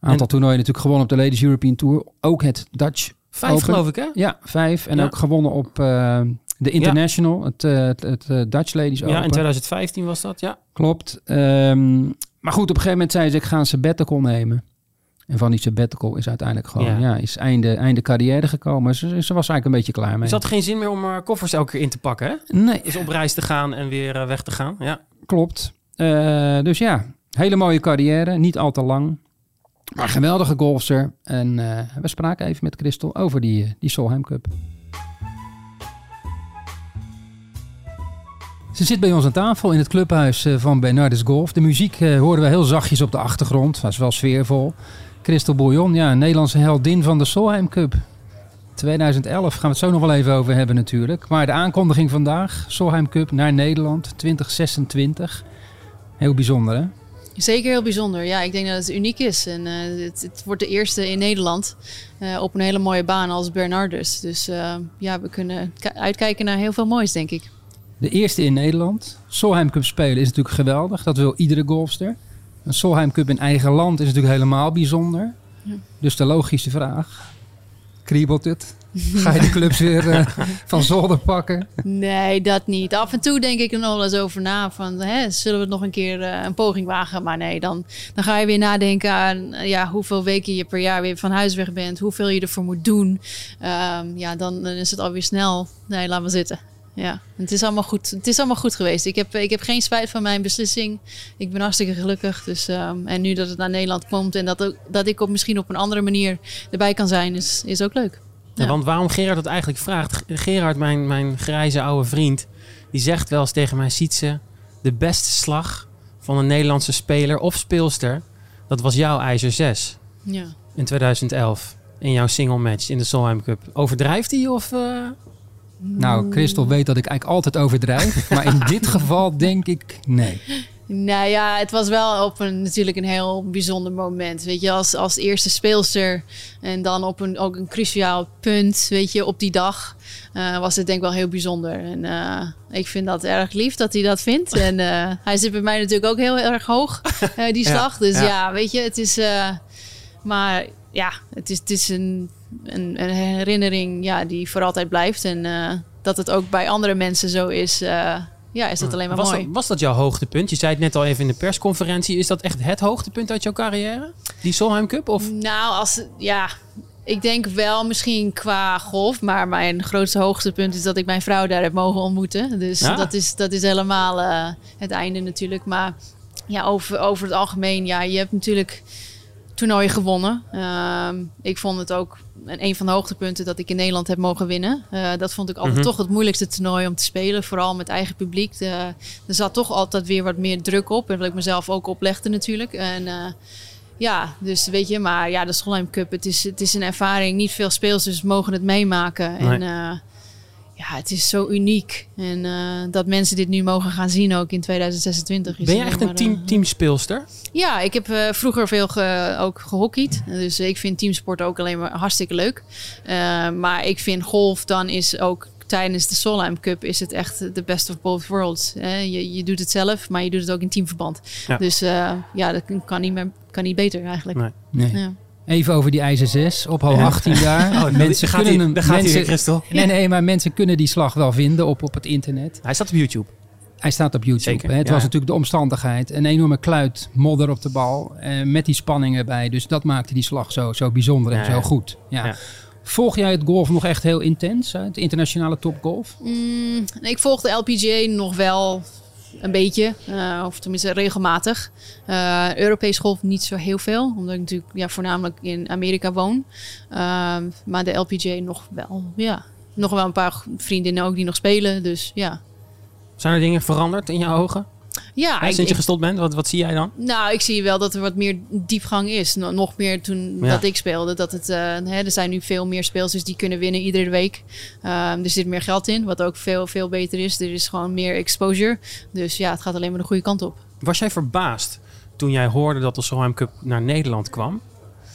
S1: Aantal
S2: En-
S1: toernooien natuurlijk gewonnen op de Ladies European Tour. Ook het Dutch
S2: Vijf
S1: Open.
S2: geloof ik, hè?
S1: Ja, vijf. En
S2: Ja.
S1: ook gewonnen op eh, de International, het, eh, het, het, eh, Dutch Ladies
S2: Ja,
S1: Open.
S2: in 2015 was dat, ja.
S1: Klopt. Ehm, maar goed, op een gegeven moment zei ze, ik ga een sabbatical nemen. En van die sabbatical is uiteindelijk gewoon,
S2: Ja.
S1: ja, is einde, einde carrière gekomen. Ze, ze was eigenlijk een beetje klaar mee.
S2: Dus had geen zin meer om maar koffers elke keer in te pakken, hè?
S1: Nee,
S2: Dus op reis te gaan en weer eh, weg te gaan, ja.
S1: klopt. Eh, dus ja, hele mooie carrière, niet al te lang. Maar geweldige golfster. En eh, we spraken even met Christel over die, eh, die Solheim Cup. Ze zit bij ons aan tafel in het clubhuis eh, van Bernardus Golf. De muziek eh, horen we heel zachtjes op de achtergrond. Dat is wel sfeervol. Christel Bouillon, ja, een Nederlandse heldin van de Solheim Cup. 2011 gaan we het zo nog wel even over hebben natuurlijk. Maar de aankondiging vandaag, Solheim Cup naar Nederland 2026. Heel bijzonder hè?
S6: Zeker heel bijzonder. Ja, ik denk dat het uniek is. En eh, het, het wordt de eerste in Nederland eh, op een hele mooie baan als Bernardus. Dus eh, ja, we kunnen ki- uitkijken naar heel veel moois, denk ik.
S1: De eerste in Nederland. Solheim Cup spelen is natuurlijk geweldig. Dat wil iedere golfster. Een Solheim Cup in eigen land is natuurlijk helemaal bijzonder. Dus de logische vraag. Kriebelt het? Ga je de clubs weer eh, van zolder pakken?
S6: Nee, dat niet. Af en toe denk ik er nog wel eens over na. Van, hè, zullen we het nog een keer eh, een poging wagen? Maar nee, dan, dan ga je weer nadenken aan eh, ja, hoeveel weken je per jaar weer van huis weg bent. Hoeveel je ervoor moet doen. Ehm, ja, dan, dan is het alweer snel. Nee, laat maar zitten. Ja, het is allemaal goed, het is allemaal goed geweest. Ik heb, ik heb geen spijt van mijn beslissing. Ik ben hartstikke gelukkig. Dus, ehm, en nu dat het naar Nederland komt en dat, ook- dat ik op misschien op een andere manier erbij kan zijn, is, is ook leuk.
S2: Ja,
S6: Ja.
S2: Want waarom Gerard dat eigenlijk vraagt. Gerard, mijn, mijn grijze oude vriend, die zegt wel eens tegen mij: Sietse, de beste slag van een Nederlandse speler of speelster, dat was jouw IJzer 6
S6: Ja.
S2: in 2011. In jouw single match in de Solheim Cup. Overdrijft hij of. eh?
S1: Nou, Christel weet dat ik eigenlijk altijd overdrijf. Maar in dit geval denk ik nee.
S6: Nou ja, het was wel op een, natuurlijk een heel bijzonder moment. Weet je, als, als eerste speelster en dan op een, ook een cruciaal punt, weet je, op die dag eh, was het denk ik wel heel bijzonder. En eh, ik vind dat erg lief dat hij dat vindt. En eh, hij zit bij mij natuurlijk ook heel erg hoog, eh, die
S2: Ja,
S6: slag. dus
S2: ja.
S6: ja. weet je, het is... eh, maar ja, het is, het is een, een, een herinnering ja, die voor altijd blijft. En eh, dat het ook bij andere mensen zo is, eh, ja, is dat alleen maar
S2: Hmm. was,
S6: mooi.
S2: dat, was dat jouw hoogtepunt? Je zei het net al even in de persconferentie. Is dat echt het hoogtepunt uit jouw carrière? Die Solheim Cup? Of
S6: Nou, als, ja, Ik denk wel misschien qua golf, maar mijn grootste hoogtepunt is dat ik mijn vrouw daar heb mogen ontmoeten. Dus
S2: Ja.
S6: dat, is, dat is helemaal eh, het einde natuurlijk. Maar ja, over, over het algemeen, ja, je hebt natuurlijk toernooien gewonnen. Ehm, ik vond het ook een, een van de hoogtepunten dat ik in Nederland heb mogen winnen. Eh, dat vond ik altijd toch het moeilijkste toernooi om te spelen, vooral met eigen publiek. De- er zat toch altijd weer wat meer druk op, en wat ik mezelf ook oplegde natuurlijk. En eh, ja, dus weet je, maar ja, de Schoolheim Cup, het is, het is een ervaring. Niet veel speelsters mogen het meemaken. En
S2: Nee.
S6: eh, ja, het is zo uniek. En eh, dat mensen dit nu mogen gaan zien ook in 2026. Is
S2: Ben je
S6: alleen
S2: echt een
S6: maar, eh,
S2: team, teamspeelster?
S6: ja, ik heb eh, vroeger veel ge- ook gehockeyd. Dus ik vind teamsport ook alleen maar hartstikke leuk. Eh, maar ik vind golf dan is ook tijdens de Solheim Cup is het echt de best of both worlds. hè. je, je doet het zelf, maar je doet het ook in teamverband.
S2: Ja.
S6: Dus eh, ja, dat kan niet, meer, kan niet beter eigenlijk.
S2: Nee. Oh,
S1: Nee.
S6: Ja.
S1: Even over die ijzer 6 op hal 18 daar. mensen
S2: gaat
S1: kunnen
S2: hij,
S1: hem-
S2: daar gaat hij
S1: mensen-
S2: weer, Christel.
S1: Nee, nee, maar mensen kunnen die slag wel vinden op, op het internet.
S2: Hij staat op YouTube.
S1: Hij staat op YouTube.
S2: Zeker,
S1: hè. Het
S2: ja.
S1: was natuurlijk de omstandigheid. Een enorme kluit modder op de bal. eh, met die spanning erbij. Dus dat maakte die slag zo, zo bijzonder en
S2: Ja,
S1: zo
S2: ja.
S1: goed. Ja.
S2: Ja.
S1: Volg jij het golf nog echt heel intens? hè? Het internationale topgolf?
S6: Mm, ik volg de LPGA nog wel een beetje, eh, of tenminste regelmatig. Eh, Europees golf niet zo heel veel, omdat ik natuurlijk ja, voornamelijk in Amerika woon. Ehm, maar de LPGA nog wel, ja. Nog wel een paar g- vriendinnen ook die nog spelen, dus ja.
S2: Zijn er dingen veranderd in je ogen?
S1: Ah,
S6: Ja, ik-
S2: Sinds je
S6: ik-
S2: gestopt bent, wat, wat zie jij dan?
S6: Nou, ik zie wel dat er wat meer diepgang is. No- Nog meer toen
S2: Ja.
S6: dat ik speelde. Dat het, eh, hè, er zijn nu veel meer speelsters die kunnen winnen iedere week. Ehm, er zit meer geld in, wat ook veel, veel beter is. Er is gewoon meer exposure. Dus ja, het gaat alleen maar de goede kant op.
S2: Was jij verbaasd toen jij hoorde dat de Solheim Cup naar Nederland kwam?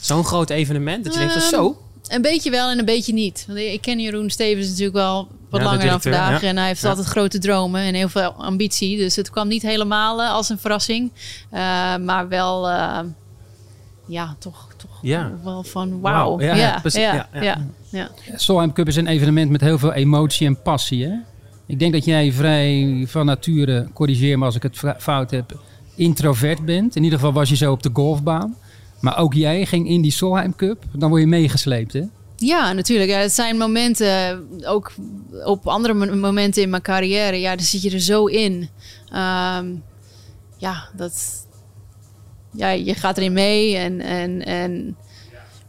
S2: Zo'n groot evenement dat je denkt, dat
S6: Ehm,
S2: zo?
S6: Een beetje wel en een beetje niet. Want ik ken Jeroen Stevens natuurlijk wel wat
S2: Ja, de
S6: langer dan
S2: directeur,
S6: vandaag.
S2: ja.
S6: En hij heeft
S2: Ja.
S6: altijd grote dromen en heel veel ambitie. Dus het kwam niet helemaal eh, als een verrassing. Eh, maar wel, eh, ja, toch, toch
S2: Ja.
S6: wel van
S2: Wauw,
S6: wauw.
S2: ja,
S6: Ja,
S2: precies.
S6: ja,
S2: Ja, ja.
S6: ja, ja.
S1: Solheim Cup is een evenement met heel veel emotie en passie. Hè? Ik denk dat jij vrij van nature, corrigeer me als ik het fra- fout heb, introvert bent. In ieder geval was je zo op de golfbaan. Maar ook jij ging in die Solheim Cup. Dan word je meegesleept, hè?
S6: Ja, natuurlijk. Ja, het zijn momenten, eh, ook op andere mo- momenten in mijn carrière, ja, daar zit je er zo in. Ehm, ja, dat, ja, je gaat erin mee en, en, en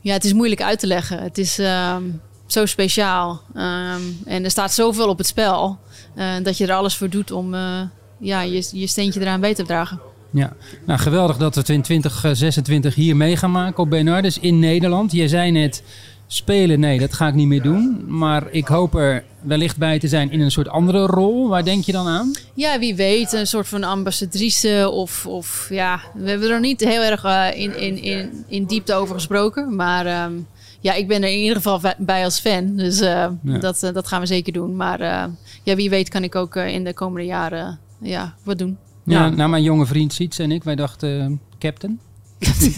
S6: ja, het is moeilijk uit te leggen. Het is ehm, zo speciaal Ehm, en er staat zoveel op het spel eh, dat je er alles voor doet om eh, ja, je, je steentje eraan bij te dragen.
S1: Ja, nou geweldig dat we het in 2026 hier mee gaan maken op Benardus in Nederland. Jij zei net, spelen, nee, dat ga ik niet meer doen. Maar ik hoop er wellicht bij te zijn in een soort andere rol. Waar denk je dan aan?
S6: Ja, wie weet, een soort van ambassadrice of, of ja, we hebben er nog niet heel erg eh, in, in, in, in diepte over gesproken. Maar ehm, ja, ik ben er in ieder geval va- bij als fan, dus eh, dat, eh, dat gaan we zeker doen. Maar eh, ja, wie weet kan ik ook eh, in de komende jaren ja, wat doen.
S1: Ja,
S2: Ja.
S1: nou, mijn jonge vriend Siets en ik, wij dachten eh, captain.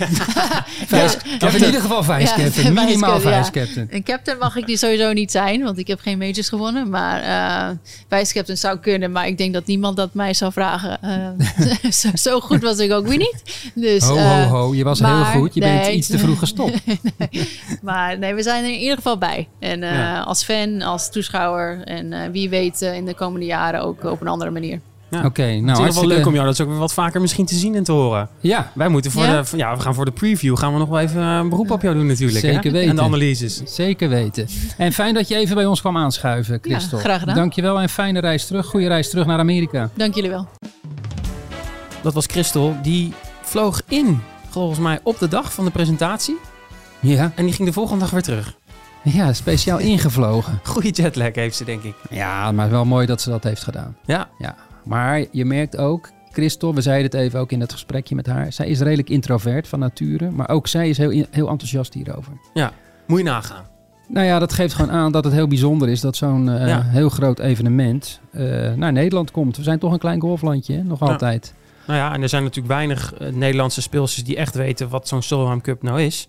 S1: Vice- Of in ieder geval vice
S6: Ja,
S1: captain, minimaal
S6: vice- ja. Dus,
S1: vice captain.
S6: Een captain mag ik die sowieso niet zijn, want ik heb geen majors gewonnen. Maar eh vice-captain zou kunnen, maar ik denk dat niemand dat mij zou vragen. Eh, zo, zo goed was ik ook weer niet. Dus,
S1: Ho, ho,
S6: eh,
S1: ho, je was heel
S6: maar-
S1: goed, je bent
S6: nee.
S1: iets te vroeg gestopt.
S6: Maar nee, we zijn er in ieder geval bij. En eh,
S2: Ja.
S6: als fan, als toeschouwer. En eh, wie weet eh, in de komende jaren ook op een andere manier.
S2: Ja.
S1: Oké, nou
S2: het is wel
S1: hartstikke-
S2: leuk om jou dat is ook weer wat vaker misschien te zien en te horen.
S1: Ja,
S2: Wij moeten voor
S6: Ja?
S2: de, ja, we gaan voor de preview gaan we nog wel even eh, een beroep op jou doen natuurlijk. hè?
S1: Zeker weten.
S2: En de analyses.
S1: zeker weten. En fijn dat je even bij ons kwam aanschuiven, Christel.
S6: graag gedaan.
S1: Dankjewel en fijne reis terug. Goede reis terug naar Amerika.
S6: Dank jullie wel.
S2: Dat was Christel, die vloog in volgens mij op de dag van de presentatie.
S1: Ja,
S2: En die ging de volgende dag weer terug.
S1: ja speciaal ingevlogen.
S2: Goeie jetlag heeft ze denk ik.
S1: Ja, maar wel mooi dat ze dat heeft gedaan.
S2: Ja,
S1: Ja, maar je merkt ook, Christel, we zeiden het even ook in dat gesprekje met haar. Zij is redelijk introvert van nature, maar ook zij is heel, heel enthousiast hierover.
S2: ja. moet je nagaan.
S1: Nou ja, dat geeft gewoon aan dat het heel bijzonder is dat zo'n eh,
S2: Ja.
S1: heel groot evenement eh, naar Nederland komt. We zijn toch een klein golflandje, hè? nog
S2: Ja.
S1: altijd.
S2: Nou ja, en er zijn natuurlijk weinig eh, Nederlandse speelsters die echt weten wat zo'n Solheim Cup nou is.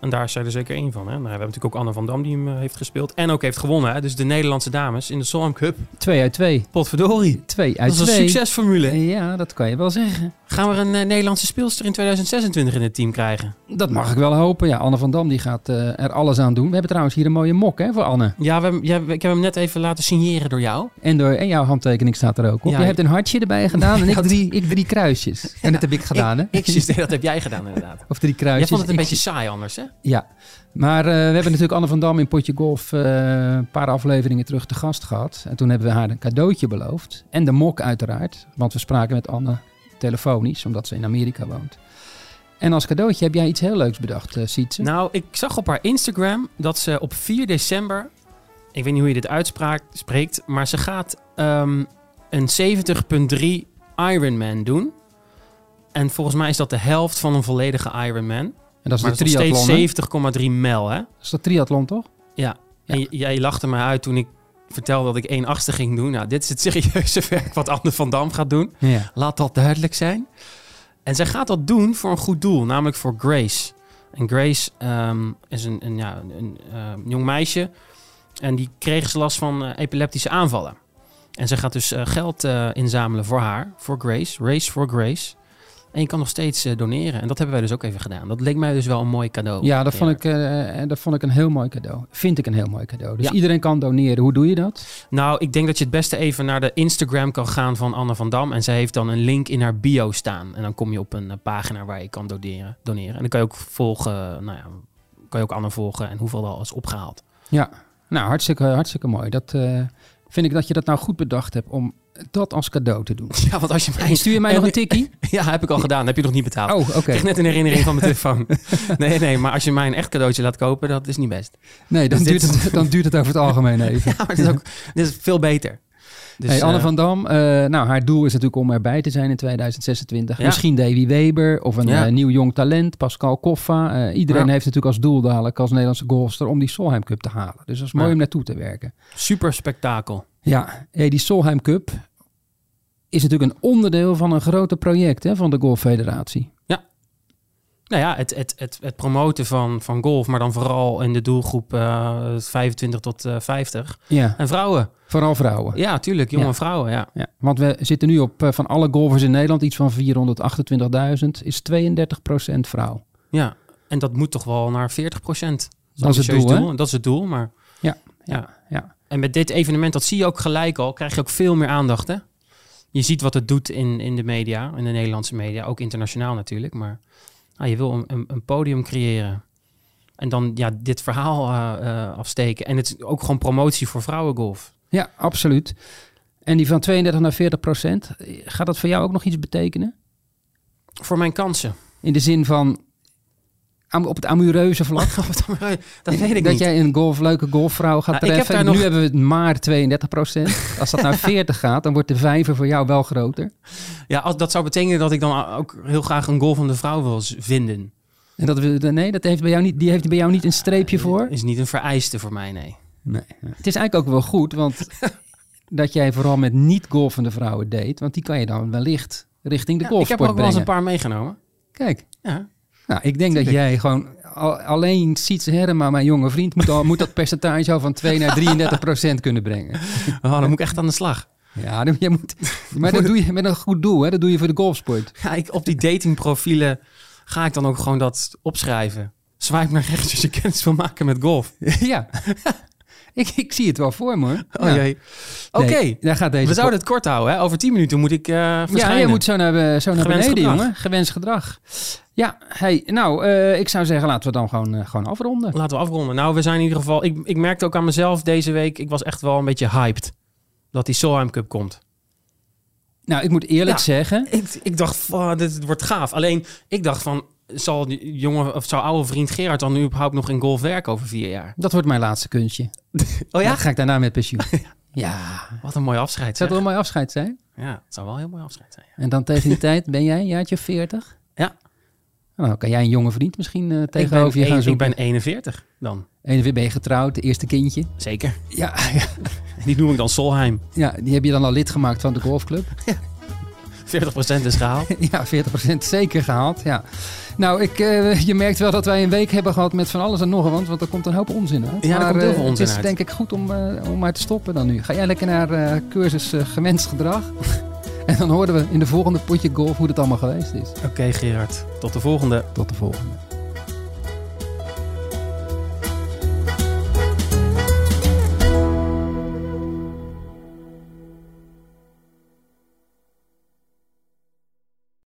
S2: En daar is zij er zeker één van. Hè? Nou, we hebben natuurlijk ook Anne van Dam die hem eh, heeft gespeeld. En ook heeft gewonnen. Hè? Dus de Nederlandse dames in de Solheim Cup.
S1: Twee uit twee.
S2: Potverdorie.
S1: Twee
S2: Dat
S1: uit
S2: is een
S1: twee.
S2: succesformule.
S1: Ja, dat kan je wel zeggen.
S2: Gaan we een eh, Nederlandse speelster in 2026 in het team krijgen?
S1: Dat mag ik wel hopen. Ja, Anne van Dam die gaat eh, er alles aan doen. We hebben trouwens hier een mooie mok hè, voor Anne.
S2: Ja, we, hebben- ja, we- ik heb hem net even laten signeren door jou.
S1: En, door, en jouw handtekening staat er ook op.
S2: Ja,
S1: je
S2: ik-
S1: hebt een hartje erbij gedaan en ik drie, ik drie kruisjes. En dat heb ik gedaan, hè?
S2: Ik zie dat heb jij gedaan inderdaad.
S1: Of drie
S2: Jij
S1: kruisjes.
S2: vond het een
S1: Ik-
S2: beetje saai anders, hè?
S1: Ja, maar eh, we hebben natuurlijk Anne van Dam in Potje Golf eh, een paar afleveringen terug te gast gehad. En toen hebben we haar een cadeautje beloofd. En de mok uiteraard, want we spraken met Anne telefonisch, omdat ze in Amerika woont. En als cadeautje heb jij iets heel leuks bedacht, eh Sietse.
S2: Nou, ik zag op haar Instagram dat ze op 4 december, ik weet niet hoe je dit uitspraakt, spreekt, maar ze gaat ehm, een 70.3 Ironman doen. En volgens mij is dat de helft van een volledige Ironman.
S1: en dat is
S2: Maar
S1: de
S2: dat is nog
S1: triathlon,
S2: steeds
S1: hè?
S2: 70,3 mijl, hè?
S1: Dat is dat triathlon, toch?
S2: Ja. En j- jij lachte me uit toen ik vertelde dat ik 1 achtste ging doen. Nou, dit is het serieuze werk wat Anne van Dam gaat doen.
S1: Ja.
S2: Laat dat duidelijk zijn. En zij gaat dat doen voor een goed doel, namelijk voor Grace. En Grace ehm, is een, een, ja, een ehm, jong meisje. En die kreeg ze last van eh, epileptische aanvallen. En zij gaat dus eh, geld eh, inzamelen voor haar, voor Grace. Race for Grace. En je kan nog steeds eh, doneren. En dat hebben wij dus ook even gedaan. Dat leek mij dus wel een mooi cadeau.
S1: Ja, dat vond,
S2: Ja.
S1: ik, eh, dat vond ik een heel mooi cadeau. Vind ik een heel mooi cadeau. Dus
S2: Ja.
S1: iedereen kan doneren. Hoe doe je dat?
S2: Nou, ik denk dat je het beste even naar de Instagram kan gaan van Anne van Dam. En zij heeft dan een link in haar bio staan. En dan kom je op een eh, pagina waar je kan doneren. doneren. En dan kan je ook volgen, nou ja, kan je ook Anne volgen en hoeveel er al is opgehaald.
S1: Ja, nou hartstikke, hartstikke mooi. Dat eh, vind ik dat je dat nou goed bedacht hebt om dat als cadeau te doen.
S2: Ja, want als je mij...
S1: Stuur je mij nog een tikkie?
S2: Ja, heb ik al gedaan. Heb je nog niet betaald.
S1: Oh, oké.
S2: Ik kreeg net een herinnering van mijn telefoon. Nee, nee, maar als je mij een echt cadeautje laat kopen, dat is niet best.
S1: Nee, dan,
S2: Dus dit
S1: duurt het, dan duurt het over het algemeen even.
S2: Ja, maar het is ook dit is veel beter. Dus,
S1: hey, Anne
S2: eh,
S1: van Dam, eh, nou, haar doel is natuurlijk om erbij te zijn in 2026.
S2: Ja.
S1: Misschien Davy Weber of een
S2: Ja.
S1: eh, nieuw jong talent, Pascal Koffa. Eh, iedereen
S2: Ja.
S1: heeft natuurlijk als doel dadelijk als Nederlandse golfster om die Solheim Cup te halen. Dus dat is mooi
S2: Ja.
S1: om naartoe te werken.
S2: Super spektakel.
S1: Ja, hey, die Solheim Cup is natuurlijk een onderdeel van een groter project hè, van de Golffederatie.
S2: Nou ja, het, het, het, het promoten van, van golf, maar dan vooral in de doelgroep eh, 25 tot eh, 50.
S1: Ja,
S2: En vrouwen.
S1: vooral vrouwen.
S2: Ja, tuurlijk. Jonge
S1: Ja.
S2: vrouwen, ja.
S1: Ja, want we zitten nu op eh, van alle golfers in Nederland iets van 428.000, is 32% vrouw.
S2: ja. En dat moet toch wel naar 40 procent.
S1: Dat is het doel, hè?
S2: Dat is het doel, maar...
S1: Ja.
S2: ja.
S1: Ja.
S2: En met dit evenement, dat zie je ook gelijk al, krijg je ook veel meer aandacht, hè? Je ziet wat het doet in, in de media, in de Nederlandse media. Ook internationaal natuurlijk, maar... ah, je wil een, een, een podium creëren. En dan ja, dit verhaal eh, eh, afsteken. En het is ook gewoon promotie voor vrouwengolf.
S1: Ja, absoluut. En die van 32 naar 40 procent, eh, gaat dat voor jou ook nog iets betekenen?
S2: Voor mijn kansen.
S1: In de zin van am- op het amoureuze vlak?
S2: dat weet ik
S1: dat
S2: niet.
S1: jij een golf, leuke golfvrouw gaat
S2: Nou, ik heb
S1: treffen.
S2: daar
S1: nu
S2: nog-
S1: hebben we het maar 32 procent. Als dat naar 40 gaat, dan wordt de vijver voor jou wel groter.
S2: Ja, als, dat zou betekenen dat ik dan ook heel graag een golvende vrouw wil z- vinden.
S1: En dat we, nee, dat heeft bij jou niet, die heeft bij jou niet een streepje voor?
S2: Is niet een vereiste voor mij, nee.
S1: Nee. Het is eigenlijk ook wel goed, want dat jij vooral met niet-golfende vrouwen deed. Want die kan je dan wellicht richting de
S2: Ja, ik
S1: golfsport
S2: heb er ook wel eens een
S1: brengen.
S2: paar meegenomen.
S1: Kijk.
S2: Ja.
S1: Nou, ik denk dat jij gewoon al- alleen Sietse Herma, mijn jonge vriend, moet, al, moet dat percentage al van 2 naar 33 procent kunnen brengen.
S2: Oh, dan moet ik echt aan de slag.
S1: Ja, dan, jij moet, maar dat doe je met een goed doel, hè? dat doe je voor de golfsport.
S2: Ja, ik, op die datingprofielen ga ik dan ook gewoon dat opschrijven. Swipe naar rechts als je kennis wil maken met golf.
S1: ja, ik, ik zie het wel voor me hoor.
S2: Oh
S1: Ja.
S2: jee. Oké,
S1: Nee, daar gaat deze
S2: we zouden het kort houden. Hè? Over 10 minuten moet ik eh
S1: Ja,
S2: verschijnen.
S1: je moet zo naar, zo naar
S2: Gewenst
S1: beneden,
S2: gedrag.
S1: jongen. Gewenst gedrag. Ja, hey, nou, eh, ik zou zeggen, laten we dan gewoon, eh, gewoon afronden.
S2: Laten we afronden. Nou, we zijn in ieder geval... Ik, ik merkte ook aan mezelf deze week... Ik was echt wel een beetje hyped dat die Solheim Cup komt.
S1: Nou, ik moet eerlijk
S2: Ja.
S1: zeggen,
S2: Ik, ik dacht, van, dit wordt gaaf. Alleen, ik dacht van, zal die jonge of zou oude vriend Gerard dan nu überhaupt nog in golf werken over vier jaar?
S1: dat wordt mijn laatste kunstje.
S2: Oh
S1: Dan ga ik daarna met pensioen. ja,
S2: Wat een mooi afscheid.
S1: zou
S2: Zeg.
S1: het wel mijn afscheid zijn?
S2: Ja, het zou wel een heel mooi afscheid zijn. ja.
S1: En dan tegen die tijd ben jij een jaartje 40?
S2: Ja.
S1: Nou, dan kan jij een jonge vriend misschien eh,
S2: Ik ben,
S1: tegenover je gaan
S2: een- ik
S1: zoeken.
S2: ben 41 dan.
S1: En weer ben je getrouwd, het eerste kindje.
S2: Zeker.
S1: Ja, ja,
S2: Die noem ik dan Solheim.
S1: ja, die heb je dan al lid gemaakt van de golfclub.
S2: 40% is gehaald.
S1: Ja, 40% zeker gehaald. Ja. Nou, ik, eh, je merkt wel dat wij een week hebben gehad met van alles en nog wat, want er komt een hoop onzin uit.
S2: Ja, er
S1: maar,
S2: komt heel
S1: eh,
S2: veel onzin
S1: Het is
S2: uit.
S1: denk ik goed om, eh, om maar te stoppen dan nu. Ga jij lekker naar eh, cursus eh, gewenst gedrag. en dan horen we in de volgende potje golf hoe dat allemaal geweest is.
S2: Oké Gerard, tot de volgende.
S1: Tot de volgende.